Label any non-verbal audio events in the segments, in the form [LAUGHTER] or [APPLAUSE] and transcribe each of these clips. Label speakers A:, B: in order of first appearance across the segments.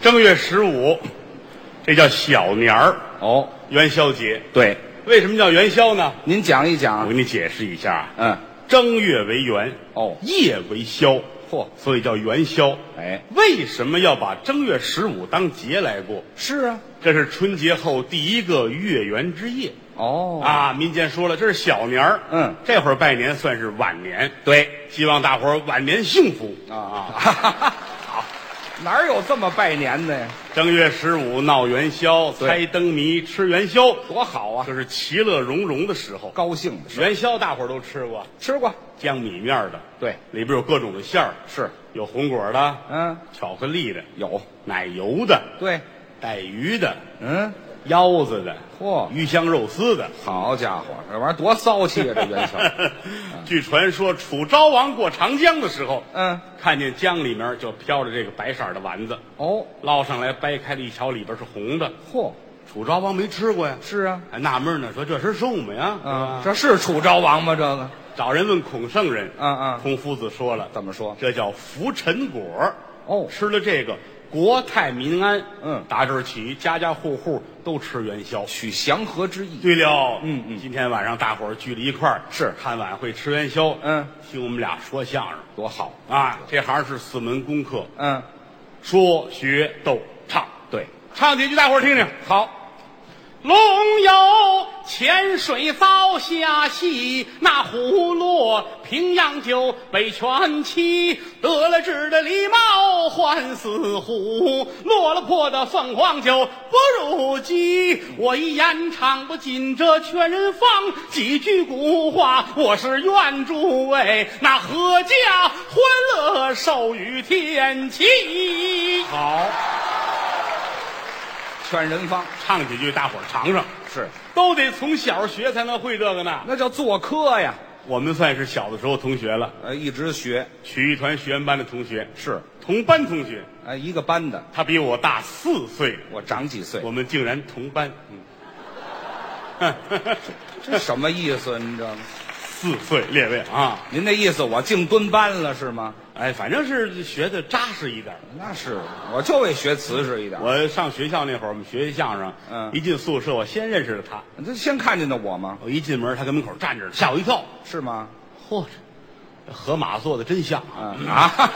A: 正月十五，这叫小年儿，
B: 哦，
A: 元宵节。
B: 对，
A: 为什么叫元宵呢？
B: 您讲一讲
A: 我给你解释一下啊。
B: 嗯，
A: 正月为元，
B: 哦
A: 夜为宵，
B: 嚯
A: 所以叫元宵。
B: 哎，
A: 为什么要把正月十五当节来过？
B: 是啊，
A: 这是春节后第一个月圆之夜
B: 哦，
A: 啊！民间说了，这是小年儿，
B: 嗯，
A: 这会儿拜年算是晚年，
B: 对，
A: 希望大伙儿晚年幸福
B: 啊啊，好， [LAUGHS] 哪有这么拜年的呀？
A: 正月十五闹元宵，
B: 对
A: 猜灯谜，吃元宵，
B: 多好啊
A: 这，是其乐融融的时候。
B: 高兴的事，
A: 元宵大伙儿都吃过，
B: 吃过，
A: 江米面儿的，
B: 对，
A: 里边有各种的馅儿，
B: 是，
A: 有红果儿的，
B: 嗯，
A: 巧克力的，
B: 有，
A: 奶油的，
B: 对，
A: 带鱼的，
B: 嗯，
A: 腰子的，
B: 嚯
A: 鱼香肉丝的。
B: 好家伙，这玩意儿多骚气啊！这元宵，
A: [LAUGHS] 据传说，楚昭王过长江的时候，
B: 嗯，
A: 看见江里面就飘着这个白色的丸子，
B: 哦，
A: 捞上来掰开了一瞧，里边是红的。
B: 嚯，
A: 楚昭王没吃过呀，
B: 是啊，
A: 还纳闷呢，说这是什么呀？
B: 啊，
A: 是吧
B: 这是楚昭王吗？这个
A: 找人问孔圣人，
B: 嗯嗯
A: 孔夫子说了，
B: 怎么说？
A: 这叫浮尘果。
B: 哦
A: 吃了这个，国泰民安。
B: 嗯
A: 打这儿起，家家户户都吃元宵。
B: 取祥和之意，
A: 对了，
B: 嗯嗯
A: 今天晚上大伙儿聚了一块儿，
B: 是
A: 看晚会吃元宵，
B: 嗯，
A: 听我们俩说相声
B: 多好，
A: 啊，这行是四门功课，
B: 嗯，
A: 说学逗唱，
B: 对，
A: 唱几句大伙儿听听。
B: 好，
A: 龙游浅水遭虾戏，那虎落平阳酒，北拳七，得了志的狸猫换死虎，落了魄的凤凰酒不如鸡。我一言唱不尽这劝人方，几句古话我是愿诸位那阖家欢乐寿与天齐。
B: 好，劝人方
A: 唱几句，大伙儿尝尝。
B: 是，
A: 都得从小学才能会这个呢。
B: 那叫做科呀，
A: 我们算是小的时候同学了，
B: 呃，一直学
A: 曲艺团学员班的同学，
B: 是，
A: 同班同学。
B: 呃，一个班的，
A: 他比我大四岁，
B: 我长几岁
A: 我，们竟然同班，嗯
B: 这什么意思？您这，
A: 四岁列位啊！
B: 您那意思我净蹲班了是吗？
A: 哎，反正是学的扎实一点儿。
B: 那是，我就为学瓷实一点。
A: 我上学校那会儿，我们学相声，
B: 嗯
A: 一进宿舍我先认识了他，
B: 这先看见的我吗？
A: 我一进门他跟门口站着，吓我一跳，
B: 是吗？
A: 嚯，这河马做的真像啊，
B: 嗯啊，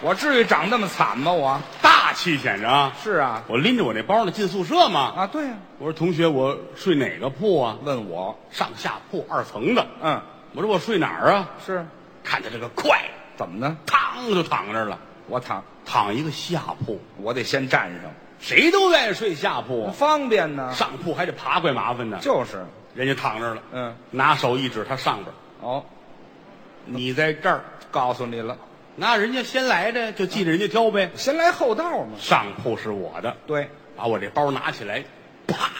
B: 我至于长那么惨吗？我
A: 大气显着啊！
B: 是啊，
A: 我拎着我那包呢进宿舍嘛，
B: 啊对呀、
A: 我说同学，我睡哪个铺啊？
B: 问我，
A: 上下铺二层的。
B: 嗯，
A: 我说我睡哪儿啊？
B: 是
A: 看他这个快，
B: 怎么呢？
A: 嘡就躺那儿了，
B: 我躺，
A: 躺一个下铺，
B: 我得先站上，
A: 谁都愿意睡下铺啊，
B: 方便呢。
A: 上铺还得爬，怪麻烦的。
B: 就是，
A: 人家躺那儿了，
B: 嗯，
A: 拿手一指他上边儿，
B: 哦，
A: 你在这儿，
B: 告诉你了，
A: 那人家先来的就记着人家挑呗。
B: 先来后到嘛。
A: 上铺是我的，
B: 对，
A: 把我这包拿起来，啪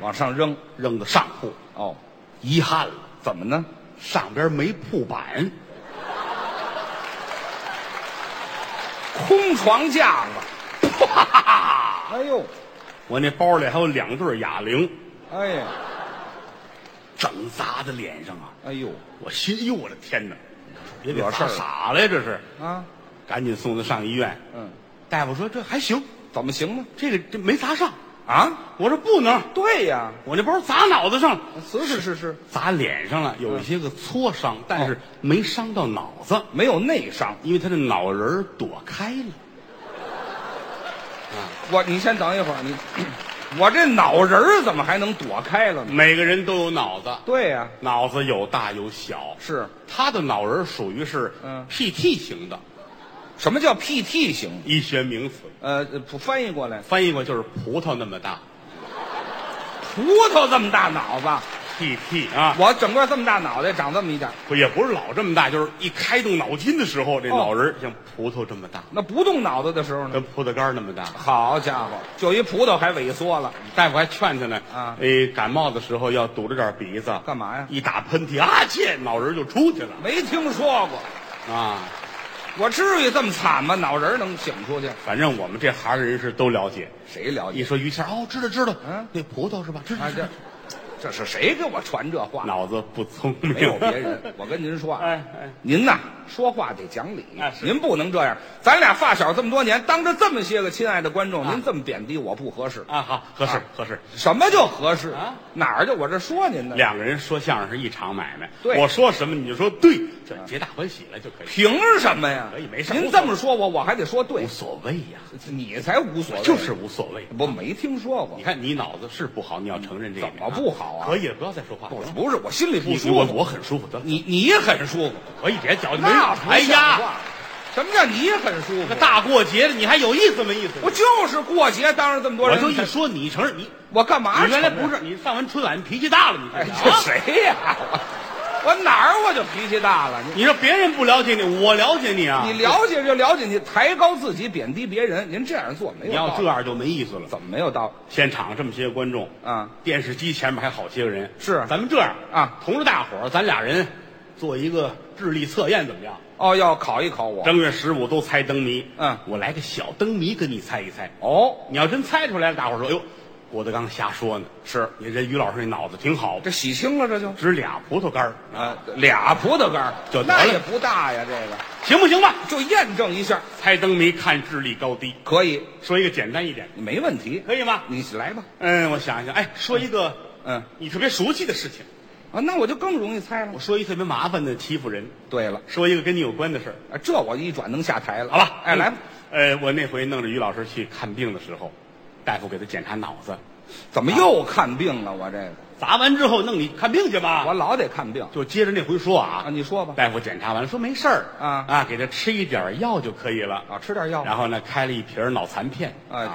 B: 往上扔。
A: 扔到上铺，
B: 哦，
A: 遗憾了，
B: 怎么呢？
A: 上边没铺板。 [LAUGHS]
B: 空床架子。
A: 啪！
B: 哎呦，
A: 我那包里还有两对哑铃，
B: 哎呀，
A: 整砸在脸上啊！
B: 哎呦，
A: 我心，哎呦，我的天哪！别给
B: 惹事
A: 砸
B: 儿了
A: 傻了呀，这是！
B: 啊，
A: 赶紧送他上医院。
B: 嗯，
A: 大夫说这还行，
B: 怎么行呢？
A: 这个这没砸上。
B: 啊，
A: 我说不能，
B: 对呀，
A: 我那包砸脑子上了，
B: 是是是是，
A: 砸脸上了，有一些个挫伤，但是没伤到脑子，
B: 没有内伤。
A: 因为他的脑仁儿躲开了。
B: 我，你先等一会儿，你， [CLEARS THROAT] 我这脑仁儿怎么还能躲开了呢？
A: 每个人都有脑子，
B: 对呀、
A: 脑子有大有小，
B: 是
A: 他的脑仁儿属于是
B: 嗯
A: PT 型的，
B: 什么叫 PT 型？
A: 医学名词。
B: 呃，不翻译过来，
A: 翻译过就是葡萄那么大
B: 葡萄这么大脑子，
A: ，PT 啊，
B: 我整个这么大脑袋长这么一点，
A: 不也不是老这么大，就是一开动脑筋的时候，这
B: 哦
A: 脑仁儿像葡萄这么大，
B: 那不动脑子的时候呢？
A: 跟葡萄干儿那么大。
B: 好家伙，就一葡萄还萎缩了，
A: 大夫还劝他呢，
B: 啊
A: 哎，感冒的时候要堵着点鼻子，
B: 干嘛呀？
A: 一打喷嚏啊，切，脑仁儿就出去了
B: 没听说过，
A: 啊。
B: 我至于这么惨吗？脑仁儿能醒出去？
A: 反正我们这行的人是都了解。
B: 谁了
A: 一
B: 解？
A: 说于谦儿，哦，知道知道，
B: 嗯
A: 那葡萄是吧？知道
B: 啊，
A: 知道
B: 这。这是谁给我传这话？
A: 脑子不聪明，
B: 没有别人，我跟您说啊，
A: 哎哎
B: 您呐说话得讲理
A: 那，是
B: 您不能这样。咱俩发小这么多年，当着这么些个亲爱的观众，您这么贬低我不合适。
A: 啊，好，合适
B: 啊
A: 合适。
B: 什么就合适
A: 啊？
B: 哪儿就我这说您呢？
A: 两个人说相声是一场买卖，
B: 对嗯
A: 我说什么你就说对，这皆大欢喜了就可以，
B: 凭什么呀？
A: 可以没事无
B: 您
A: 所
B: 这
A: 谓
B: 么说我，我还得说对
A: 无，所谓呀，
B: 你才无所谓。
A: 就是无所谓。
B: 我没听说过
A: 你，看你脑子是不好，你要承认这一点。
B: 怎么不好啊
A: 可以了，不要再说话了。
B: 不不是我心里不
A: 你
B: 舒
A: 我
B: 服。
A: 我很舒服，得了
B: 你你很舒服，
A: 可以别矫情。没
B: 那
A: 有
B: 不
A: 哎
B: 像
A: 呀，
B: 话。什么叫你很舒服
A: 这？大过节的你还有意思没意思？
B: 我就是过节，当着这么多
A: 我
B: 人，
A: 就一说你承认你，
B: 我干嘛？
A: 你原来不是你上完春晚你脾气大了，你
B: 哎，
A: 这
B: 这
A: 啊
B: 谁呀、我我哪儿我就脾气大了？你
A: 你说别人不了解你，我了解你啊。
B: 你了解就了解，你抬高自己，贬低别人，您这样做没有
A: 你
B: 道理？
A: 要这样就没意思了。
B: 怎么没有道理？
A: 现场这么些观众，
B: 啊，
A: 电视机前面还好些个人，
B: 是
A: 咱们这样
B: 啊，
A: 同着大伙儿，咱俩人做一个智力测验，怎么样？
B: 哦，要考一考我。
A: 正月十五都猜灯谜，
B: 嗯
A: 我来个小灯谜跟你猜一猜。
B: 哦，
A: 你要真猜出来了，大伙儿说：“哟，哎郭德纲瞎说呢。”
B: 是
A: 你这于老师那脑子挺好，
B: 这洗清了，这就
A: 只俩葡萄干儿，
B: 啊，俩葡萄干儿
A: 就得了
B: 那也不大呀，这个
A: 行不行吧？
B: 就验证一下，
A: 猜灯谜看智力高低，
B: 可以，
A: 说一个简单一点，
B: 没问题。
A: 可以吗？
B: 你来吧，
A: 嗯，我想一想，哎，说一个
B: 嗯
A: 你特别熟悉的事情，
B: 啊，那我就更容易猜了
A: 我。说一特别麻烦的欺负人，
B: 对了，
A: 说一个跟你有关的事儿，
B: 啊，这我一转能下台了，
A: 好吧？
B: 哎，
A: 嗯
B: 来吧，。
A: 呃，我那回弄着于老师去看病的时候，大夫给他检查脑子，
B: 怎么又看病了？我这个
A: 砸完之后弄你看病去吧。
B: 我老得看病
A: 就接着那回说啊
B: 啊，，你说吧。
A: 大夫检查完了说没事儿
B: 啊
A: 啊，给他吃一点药就可以了
B: 啊，吃点药。
A: 然后呢，开了一瓶脑残片，啊
B: 哎，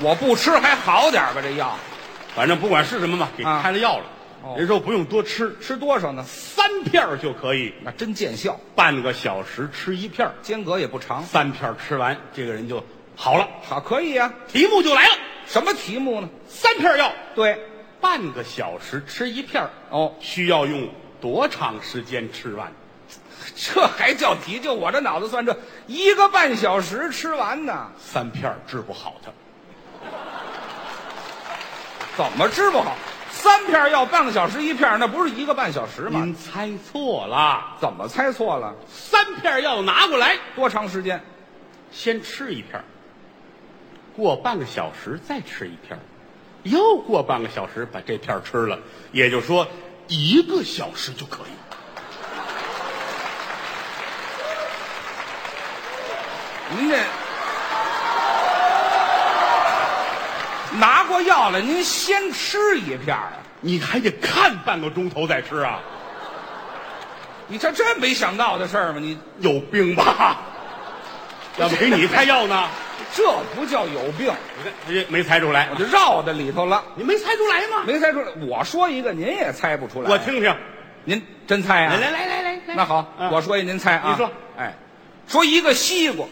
B: 我不吃还好点儿吧？这药
A: 反正不管是什么嘛，给
B: 啊
A: 开了药了。
B: 哦
A: 人说不用多吃，
B: 吃多少呢？
A: 三片儿就可以，
B: 那真见效，
A: 半个小时吃一片儿，
B: 间隔也不长。
A: 三片儿吃完，这个人就好了。
B: 好，可以呀、
A: 题目就来了，
B: 什么题目呢？
A: 三片儿药，
B: 对，
A: 半个小时吃一片儿，
B: 哦，
A: 需要用多长时间吃完？
B: 这还叫题？就我这脑子算这一个半小时吃完呢，
A: 三片儿治不好他，
B: 怎么治不好？三片药半个小时一片，那不是一个半小时吗？
A: 您猜错了，
B: 怎么猜错了？
A: 三片儿药拿过来。
B: 多长时间？
A: 先吃一片儿，过半个小时再吃一片儿，又过半个小时把这片儿吃了，也就是说一个小时就可以。
B: 您这拿过药来，您先吃一片儿啊？
A: 你还得看半个钟头再吃啊，
B: 你这这没想到的事儿吗？你
A: 有病吧？要不给你开药呢？
B: 这不叫有病，
A: 你看，哎没猜出来
B: 我，就绕在里头了，
A: 你没猜出来吗？
B: 没猜出来。我说一个，您也猜不出来。
A: 我，听啊听，
B: 您真猜啊？
A: 来来来来来来，
B: 那好，
A: 啊
B: 我说一，您猜啊？
A: 你说，
B: 哎，说一个西瓜，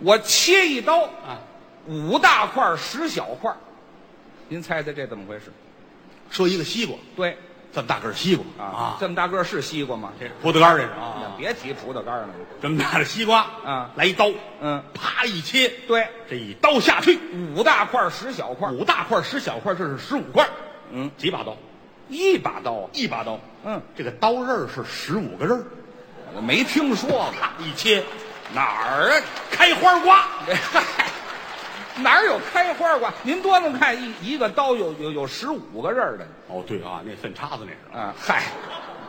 B: 我切一刀，
A: 啊，
B: 五大块儿十小块儿，您猜猜这怎么回事？
A: 说一个西瓜，
B: 对，
A: 这么大个儿西瓜
B: 啊，这么大个儿是西瓜吗？
A: 这葡萄干儿这是啊，
B: 别提葡萄干儿了，
A: 这么大的西瓜
B: 啊
A: 来一刀，
B: 嗯
A: 啪一切，
B: 对，
A: 这一刀下去，
B: 五大块儿十小块儿，
A: 五大块儿十小块儿，这是十五块儿，
B: 嗯，
A: 几把刀？
B: 一把刀啊，
A: 一把刀，
B: 嗯，
A: 这个刀刃儿是十五个刃儿，
B: 我没听说过
A: 啪一切，
B: 哪儿啊？
A: 开花瓜，
B: 嗨， [LAUGHS] 哪儿有开花瓜？您多能看一一个刀有有有十五个刃儿的
A: 哦对啊，那粪叉子那是，
B: 啊！嗨，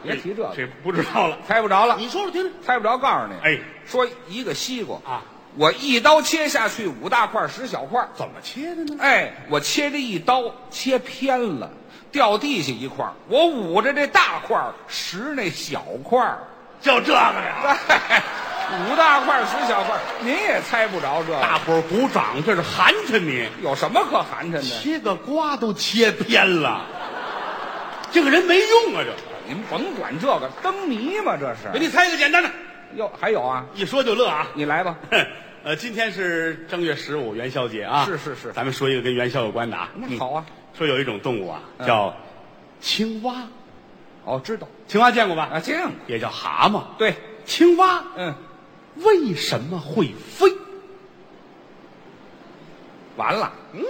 B: 别提这个，
A: 这不知道了，
B: 猜不着了，
A: 你说说听听，
B: 猜不着。告诉你，
A: 哎，
B: 说一个西瓜
A: 啊，
B: 我一刀切下去五大块儿十小块儿，
A: 怎么切的
B: [LAUGHS]
A: 呢？
B: 哎，我切这一刀切偏了，掉地下一块儿，我捂着这大块儿拾那小块儿。
A: 就这个呀，
B: 嗨 [LAUGHS] 五大块儿十小块儿，您也猜不着这个，
A: [LAUGHS] 大伙儿鼓掌，这是寒碜你，
B: 有什么可寒碜的？
A: 切个瓜都切偏了，这个人没用啊，这，
B: 您甭管这个灯谜嘛，这是
A: 给。哎你猜一个简单的，
B: 哟，还有啊，
A: 一说就乐啊。
B: 你来吧。
A: 哼， [LAUGHS] 呃，今天是正月十五元宵节啊，
B: 是是是
A: 咱们说一个跟元宵有关的啊。
B: 那好啊，
A: 说有一种动物啊，
B: 嗯
A: 叫青蛙，
B: 哦，知道
A: 青蛙见过吧？
B: 啊，这样
A: 也叫蛤蟆。，
B: 对，
A: 青蛙
B: 嗯，
A: 为什么会飞？
B: 完了，嗯，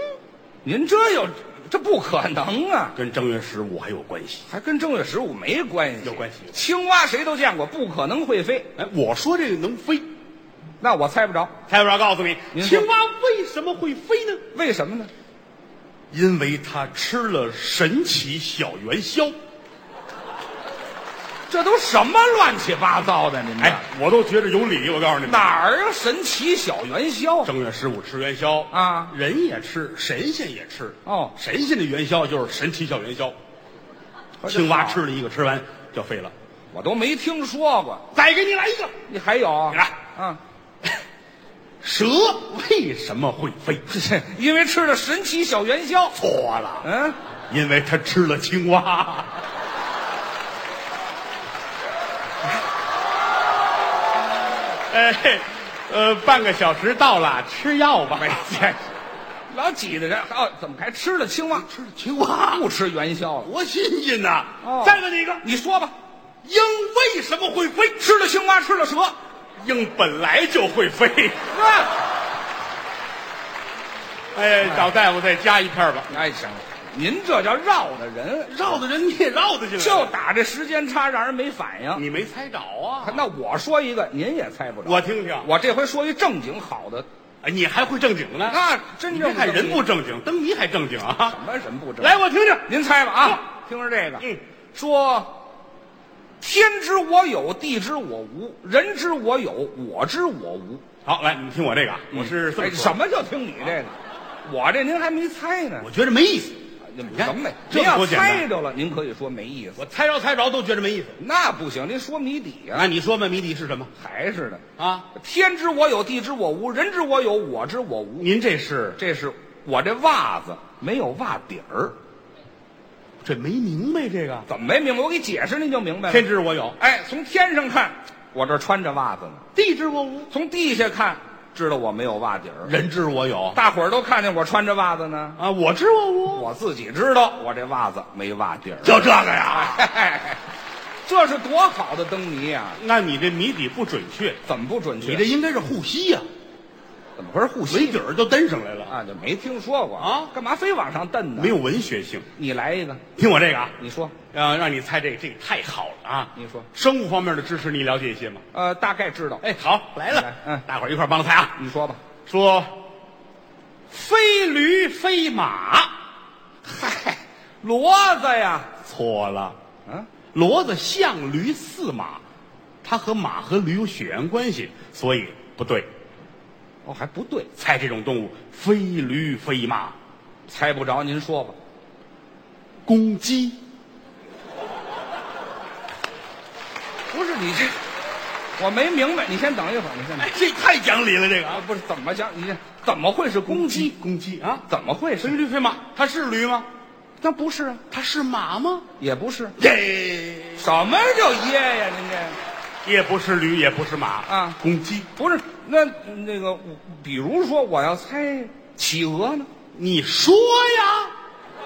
B: 您这有这不可能啊！
A: 跟正月十五还有关系。
B: 还跟正月十五没关系，
A: 有关系
B: 青蛙谁都见过，不可能会飞，
A: 哎，我说这个能飞，
B: 那我猜不着，
A: 蔡主任告诉你，
B: 您说
A: 青蛙为什么会飞呢？
B: 为什么呢？
A: 因为它吃了神奇小元宵。
B: 这都什么乱七八糟的？您这、
A: 哎，我都觉着有理。我告诉你们，
B: 嗯哪儿啊？神奇小元宵
A: [LAUGHS] 正月十五吃元宵
B: 啊
A: 人也吃，神仙也吃。
B: 哦
A: 神仙的元宵就是神奇小元宵，青蛙吃，了一个，吃完就废了。
B: 我都没听说过。
A: 再给你来一个，
B: 你还有啊
A: 你来？
B: 嗯，
A: 蛇为什么会飞？
B: 因为吃了神奇小元宵。
A: 错了，
B: 嗯，
A: 因为它吃了青蛙。 [LAUGHS] 哎，呃，半个小时到了，吃药吧。 [LAUGHS]
B: 老挤的人哦，怎么还吃了青蛙？
A: 吃了青蛙，
B: 不吃元宵了？
A: 多新鲜呐！
B: 哦
A: 再问你一个，
B: 你说吧，
A: 鹰为什么会飞？
B: 吃了青蛙，吃了蛇，
A: 鹰本来就会飞。
B: 啊、
A: 哎，找大夫再加一片吧。
B: 哎，行了，您这叫绕的人，
A: 绕的人你也绕得进来，
B: 就打这时间差，让人没反应。
A: 你没猜着啊！
B: 那我说一个，您也猜不着。
A: 我听听，
B: 我这回说一正经好的，
A: 哎你还会正经呢？
B: 那真正
A: 你别看人不
B: 正
A: 正经，灯谜还正经啊！
B: 经什么人不正经，
A: 来，我听听。
B: 您猜吧啊，听着这个，
A: 嗯，
B: 说天知我有，地知我无，人知我有，我知我无。
A: 好，来，你听我这个啊，我是这么
B: 哎
A: 说啊
B: 什？么叫听你这个？我这您还没猜呢，
A: 我觉着没意思，
B: 你
A: 看
B: 什么没？
A: 这
B: 您要
A: 多简单
B: 猜着了，您可以说没意思。
A: 我猜着猜着都觉着没意思。
B: 那不行，您说谜底呀、
A: 那你说吧，谜底是什么
B: 还是的。
A: 啊？
B: 天知我有，地知我无，人知我有，我知我无。
A: 您这是
B: 这是我这袜子没有袜底儿，
A: 这没明白这个？
B: 怎么没明白？我给解释您就明白
A: 天
B: 了。
A: 知我有，
B: 哎，从天上看，我这穿着袜子呢；
A: 地知我无，
B: 从地下看，知道我没有袜底儿。
A: 人知我有
B: 大伙儿都看见我穿着袜子呢，
A: 啊，我知我无，
B: 我自己知道我这袜子没袜底儿。
A: 就这个 [LAUGHS] 呀？
B: [LAUGHS] 哎这是多好的灯谜呀、
A: 那你这谜底不准确，
B: 怎么不准确？
A: 你这应该是护膝呀，
B: 怎么回事？护
A: 没
B: 膝
A: 底儿就蹬上来了，
B: 啊，就没听说过
A: 啊
B: 干嘛非往上蹬呢？
A: 没有文学性。
B: 你来一个，
A: 听我这个啊，
B: 你说，
A: 让让你猜这个，这个太好了啊！
B: 你说
A: 生物方面的知识你了解一些吗？
B: 呃，大概知道。
A: 哎，好，来了
B: 来，嗯
A: 大伙儿一块儿帮着猜啊。
B: 你说吧。
A: 说飞驴飞马，
B: 嗨，骡子呀，
A: 错了，
B: 嗯，
A: 骡子像驴似马，它和马和驴有血缘关系，所以不对。
B: 哦，还不对，
A: 猜这种动物，飞驴飞马，
B: 猜不着，您说吧。
A: 公鸡。
B: 不是你这， [LAUGHS] 我没明白。你先等一会儿，你先等。
A: 哎，这太讲理了，这个
B: 啊
A: 啊，
B: 不是怎么讲？你这怎么会是公鸡？
A: 公鸡啊，
B: 怎么会
A: 飞
B: 是？
A: 驴飞马，它是驴吗？
B: 那不是啊，
A: 它是马吗？
B: 也不是。
A: 耶，
B: 什么叫耶呀？您这
A: 也不是驴，也不是马
B: 啊
A: 公鸡。
B: 不是那那个，我比如说我要猜企鹅呢？
A: 你说呀，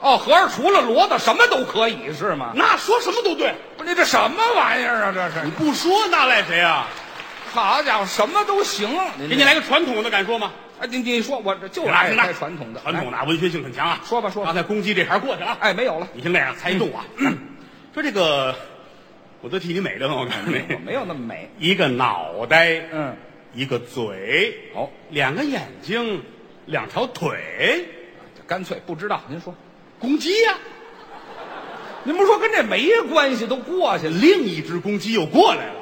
B: 哦，合着除了骡子什么都可以是吗？
A: 那说什么都对，
B: 不是，你这什么玩意儿啊？这
A: 你
B: 是，
A: 不说那赖谁啊？
B: 好家伙，什么都行。
A: 给
B: 给
A: 你来个传统的，敢说吗？
B: 哎，你你说我这就
A: 来，
B: 爱
A: 行了
B: 猜传统的，
A: 传统
B: 来
A: 的文学性很强啊。
B: 说吧说吧
A: 刚才公鸡这茬过去了啊，
B: 哎，没有了，
A: 你听这样猜一动啊，
B: 嗯
A: [CLEARS THROAT] 说这个，我都替你美的很，我告诉
B: 我
A: 你，
B: 没有那么美。
A: 一个脑袋，
B: 嗯，哦
A: 一个嘴，
B: 好，
A: 两个眼睛，两条腿，
B: 干脆不知道。您说，
A: 公鸡呀、
B: 您不是说跟这没关系，都过去了。
A: 另一只公鸡又过来了。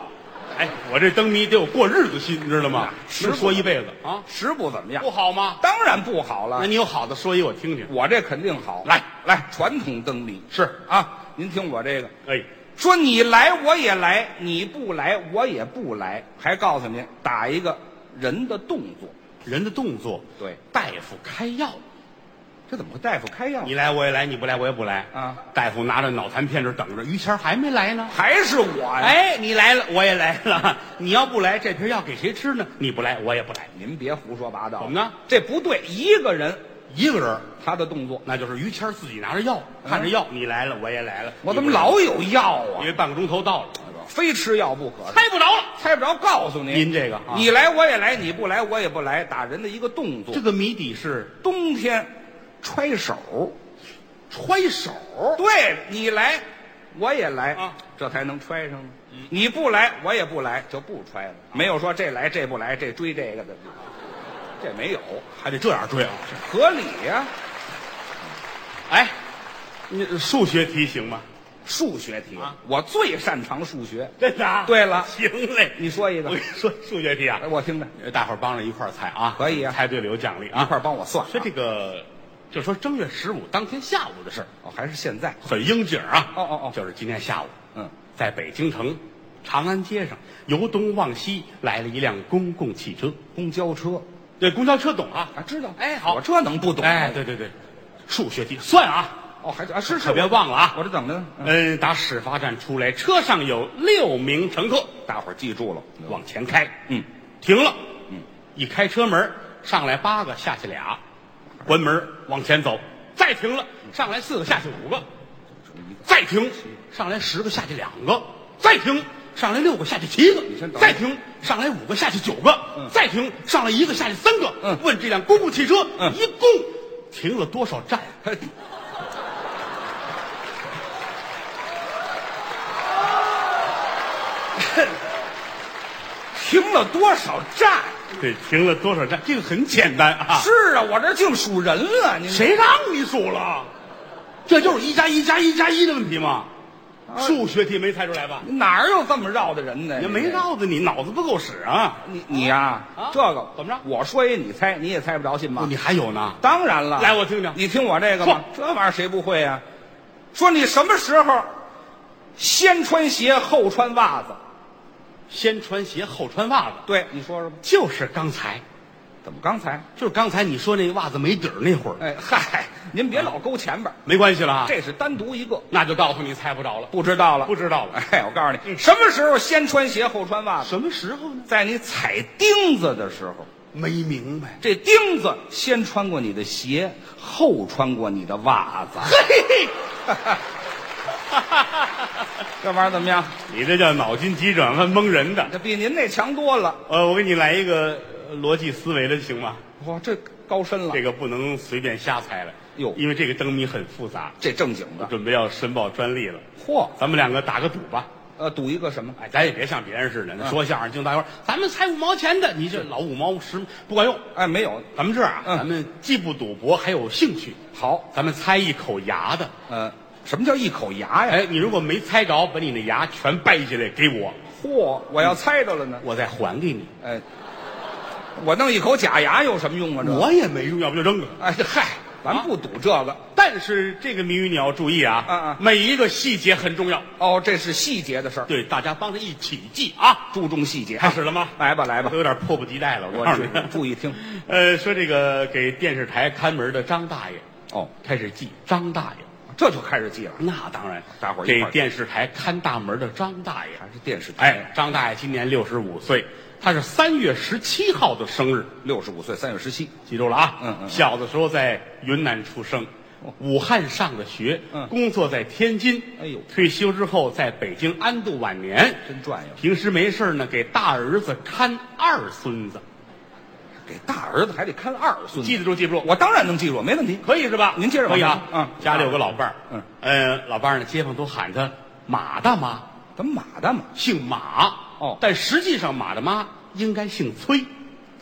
A: 哎，我这灯谜得有过日子心，你知道吗？
B: 是
A: 能说一辈子啊，
B: 食不怎么样
A: 不，好吗？
B: 当然不好
A: 那
B: 了。
A: 你有好的说一，我听听。
B: 我这肯定好。
A: 来
B: 来，传统灯谜
A: 是，
B: 啊，您听我这个，
A: 哎，
B: 说你来我也来，你不来我也不来，还告诉您打一个人的动作。
A: 人的动作，
B: 对，
A: 大夫开药，
B: 这怎么会大夫开药？
A: 你来我也来，你不来我也不来
B: 啊！
A: 大夫拿着脑残片这等着，于谦儿还没来呢。
B: 还是我呀？，
A: 哎，你来了，我也来了。你要不来，这瓶药给谁吃呢？你不来，我也不来。
B: 您别胡说八道。
A: 怎么呢？
B: 这不对，一个人
A: 一个人儿，
B: 他的动作，
A: 那就是于谦儿自己拿着药，看着药，你来了，啊我也来了。
B: 我怎么
A: 你不来
B: 老有药啊
A: 因？为半个钟头到了，
B: 非吃药不可。
A: 猜不着了。
B: 猜不着，告诉您，
A: 您这个啊
B: 你来我也来，你不来我也不来，打人的一个动作。
A: 这个谜底是
B: 冬天揣手。
A: 揣手，
B: 对你来，我也来
A: 啊，嗯
B: 这才能揣上呢。你不来，我也不来，就不揣了。
A: 啊
B: 没有说这来这不来，这追这
A: [LAUGHS]
B: 个的，这没有，
A: 还得这样追啊！
B: 合理呀、
A: 哎，你数学题行吗？
B: 数学题、
A: 啊
B: 我最擅长数学。
A: 真的、啊？
B: 对了
A: 行嘞。
B: 你说一
A: 我
B: 个
A: 跟，你说，数学题啊
B: 哎，我听着，
A: 大伙儿帮着一块儿猜啊，
B: 可以啊
A: 猜对了有奖励
B: 一
A: 啊。
B: 块儿帮我算啊。
A: 说这个，就说正月十五当天下午的事儿，
B: 哦，还是现在？
A: 很应景啊。
B: 哦哦哦
A: 就是今天下午，
B: 嗯，
A: 在北京城长安街上，由东往西来了一辆公共汽车。
B: 公交车
A: 对，公交车懂啊？
B: 啊，知道？
A: 哎好
B: 我这能不懂？
A: 哎，，对对对，数学题算啊，
B: 哦，还啊，是是，
A: 可别忘了啊。
B: 我这怎么的？嗯
A: 嗯，打始发站出来，车上有六名乘客，
B: 大伙儿记住了，
A: 往前开，
B: 嗯，
A: 停了，嗯，一开车门，上来八个，下去俩，关门往前走，再停了，上来四个，下去五个，再停，上来十个，下去两个，再停，上来六个，下去嗯七个
B: 你先，等会儿
A: 再停，上来五个，下去九个，再停，上来一个，下去三个，
B: 嗯
A: 问这辆公共汽车、
B: 嗯
A: 一共停了多少站？
B: 嘿 [LAUGHS] 停了多少站？
A: 对，停了多少站？这个很简单啊。
B: 是啊，我这净数人了，您
A: 谁让你数了？这就是一加一加一加一的问题吗？数学题没猜出来吧？
B: 哪儿有这么绕的人呢？
A: 也没绕着你，脑子不够使啊！
B: 你你呀、
A: 啊
B: 这个
A: 怎么着
B: 我说一你猜，你也猜不着信吗？
A: 你还有呢？
B: 当然了，
A: 来我听听
B: 你听我这个吧，这玩意儿谁不会呀、说你什么时候先穿鞋后穿袜子？
A: 先穿鞋后穿袜子，
B: 对，你说说吧。
A: 就是刚才，
B: 怎么刚才？
A: 就是刚才你说那袜子没底儿那会儿，
B: 哎嗨，您别
A: 啊
B: 老勾前边儿，
A: 没关系了啊。
B: 这是单独一个，
A: 那就告诉你猜不着了，
B: 不知道了，
A: 不知嗯道了。
B: 哎，我告诉你，什么时候先穿鞋后穿袜子？
A: 什么时候呢？
B: 在你踩钉子的时候，
A: 没明
B: [LAUGHS]
A: 白。
B: 这钉子先穿过你的鞋，后穿过你的袜子。
A: 嘿嘿，
B: [LAUGHS] 这玩意儿怎么样？
A: 你这叫脑筋急转弯蒙人的。
B: 这比您那强多了。
A: 呃，我给你来一个呃逻辑思维的，行吗？
B: 哇，这高深了
A: 这，个不能随便瞎猜了，
B: 哟
A: 因为这个灯谜很复杂，
B: 这正经的。
A: 准备要申报专利了。
B: 嚯，
A: 咱们两个打个赌吧，
B: 呃，赌一个什么？
A: 哎，咱也别像别人似
B: 嗯
A: 的，那说相声净大伙儿，咱们猜五毛钱的，你这老五毛十不管用。
B: 哎，没有。
A: 咱们这样啊，
B: 嗯
A: 咱们既不赌博，还有兴趣，
B: 好，
A: 咱们猜一口牙的。
B: 呃，什么叫一口牙呀？
A: 哎，你如果没猜着，把你那牙全掰下来给我，
B: 嚯，我要猜着了呢。
A: 我再还给你。
B: 哎，我弄一口假牙有什么用啊？这，
A: 我也没用，要不就扔了。
B: 哎嗨，咱不赌这个。
A: 但是这个谜语你要注意啊，
B: 嗯嗯
A: 每一个细节很重要。
B: 哦，这是细节的事儿，
A: 对，大家帮着一起记啊。
B: 注重细节。
A: 开始了吗？
B: 来吧，来吧
A: [LAUGHS] 我，有点迫不及待了，我
B: 我
A: 告诉
B: 注
A: 你。
B: 注意听。
A: [LAUGHS] 呃，说这个给电视台看门的张大爷
B: 哦，
A: 开始记张大爷，
B: 这就开始记了，
A: 那当然，
B: 大伙儿一
A: 给
B: 块儿
A: 电视台看大门的张大爷。
B: 还是电视台？
A: 哎，，张大爷今年六十五岁，他是三月十七号的生日，
B: 六十五岁，三月十七。
A: 记住了啊。
B: 嗯嗯
A: 小的时候在云南出生，武汉上的学，
B: 嗯
A: 工作在天津。
B: 哎呦
A: 退休之后在北京安度晚年。
B: 真转悠，
A: 平时没事儿呢，给大儿子看二孙子，
B: 给大儿子还得看二孙
A: 记
B: 子，
A: 得住记不住？
B: 我当然能记住，没问题。
A: 可以是吧？
B: 您接着往
A: 可以
B: 下
A: 啊。
B: 嗯
A: 家里有个老伴儿，
B: 嗯
A: 呃，老伴儿呢，街坊都喊他马大妈，
B: 怎么马大马？
A: 姓马。
B: 哦
A: 但实际上马大妈应该姓崔。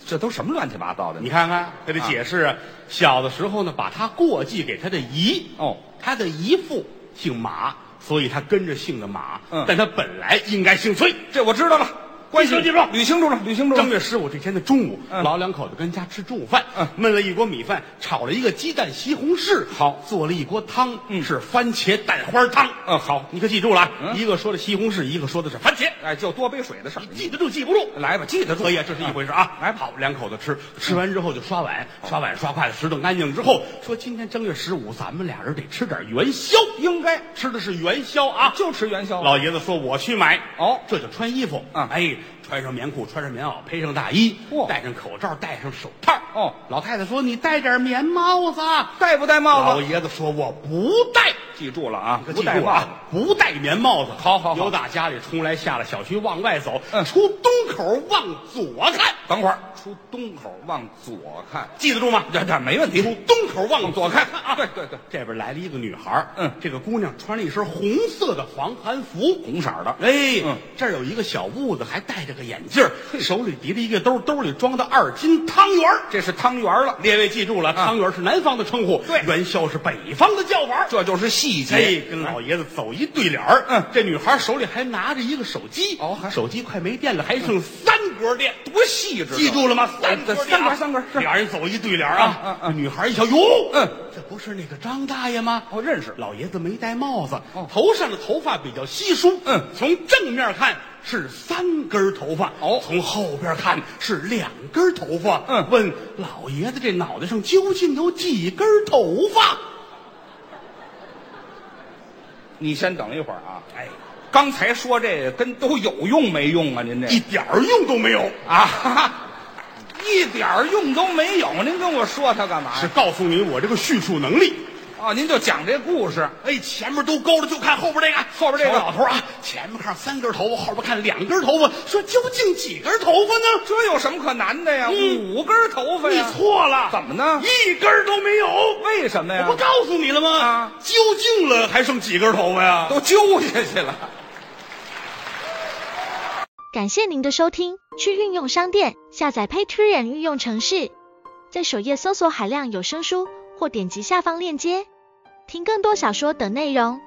B: 这都什么乱七八糟的？
A: 你看看，给他解释啊，小的时候呢，把他过继给他的姨。
B: 哦，
A: 他的姨父姓马，所以他跟着姓的马。
B: 嗯
A: 但他本来应该姓崔。
B: 这我知道了，关系
A: 记住记住
B: 捋清楚了，捋清
A: [LAUGHS]
B: 楚
A: 正
B: 了。
A: 月十五这天的中午，
B: 嗯
A: 老两口子跟家吃中午饭，
B: 嗯
A: 焖了一锅米饭，炒了一个鸡蛋西红柿，好，做了一锅汤，
B: 嗯
A: 是番茄蛋花汤。
B: 嗯，好，
A: 你可记住了啊，
B: 嗯
A: 一个说的西红柿，一个说的是番茄，
B: 哎，就多杯水的事儿
A: 你。记得住记不住？
B: 来吧，记得住
A: 可。以啊，这是一回事啊。
B: 嗯
A: 来，好，两口子吃，吃完之后就刷碗，刷碗刷筷子，拾掇干净之后，说今天正月十五，咱们俩人得吃点元宵，
B: 应该
A: 吃的是元宵啊。
B: 就吃元宵。
A: 老爷子说：“我去买。”
B: 哦
A: 这就穿衣服。
B: 嗯
A: 哎，穿上棉裤，穿上棉袄，配上大衣，
B: 嚯
A: 戴上口罩，戴上手套。
B: 哦
A: 老太太说：“你戴点棉帽子。”啊
B: 戴不戴帽
A: 老
B: 子？
A: 爷子说：“我不戴。”
B: 记住了啊，
A: 可
B: 不
A: 记
B: 戴
A: 住
B: 帽子。
A: 啊，不戴棉帽子。
B: 好好好
A: 由打家里出来，下了小区往外走，
B: 嗯
A: 出东口往左看，
B: 等会儿，出东口往左看，
A: 记得住吗？
B: 这这没问
A: 从
B: 题。
A: 东口往
B: 往
A: 左
B: 左
A: 看
B: 看
A: 啊！
B: 对对对，
A: 这边来了一个女孩儿
B: 嗯
A: 这个姑娘穿了一身红色的防寒服。
B: 红色儿的，
A: 哎，
B: 嗯
A: 这儿有一个小痦子，还戴着个眼镜儿，手里提着一个兜，兜里装的二斤汤圆儿。啊
B: 这是汤圆儿了，
A: 列位记住了，汤圆儿是南方的称呼，
B: 对
A: 元宵是北方的叫法。
B: 这就是细
A: 哎
B: 节。，
A: 跟老爷子走一对脸儿。
B: 嗯
A: 这女孩手里还拿着一个手机，
B: 哦还
A: 手机快没电了，还剩三格电。
B: 多细致啊，
A: 记住了吗？三
B: 三
A: 格
B: 个
A: 电
B: 三
A: 啊
B: 个三个是。
A: 俩人走一对脸儿啊。
B: 嗯嗯
A: 女孩一瞧，哟，
B: 嗯，
A: 这不是那个张大爷吗？
B: 哦，认识，
A: 老爷子没戴帽子
B: 哦，
A: 头上的头发比较稀疏。
B: 嗯
A: 从正面看是三根头发，
B: 哦
A: 从后边看是两根头发。
B: 嗯
A: 问老爷子这脑袋上究竟有几根头发？
B: 你先等一会儿啊。
A: 哎，
B: 刚才说这跟都有用没用啊？您这
A: 一点儿用都没有。
B: 啊，哈哈 [LAUGHS] 一点儿用都没有。您跟我说它干嘛
A: 是
B: 呀？
A: 告诉您我这个叙述能力。
B: 啊，您就讲这故事。
A: 哎，前面都勾了，就看后边这个，
B: 后边这个
A: 瞧老头啊，前面看三根头发，后边看两根头发，说究竟几根头发呢？
B: 这有什么可难的呀？
A: 嗯
B: 五根头发
A: 你
B: 呀？
A: 错了，
B: 怎么呢
A: 一根都没有。
B: 为什么
A: 我
B: 呀
A: 不？告诉你了吗？
B: 啊
A: 究竟了还剩几根头发呀？
B: 都揪下去了。
C: 感谢您的收听，去应用商店下载 Patreon 应用城市，在首页搜索海量有声书，或点击下方链接听更多小说等内容。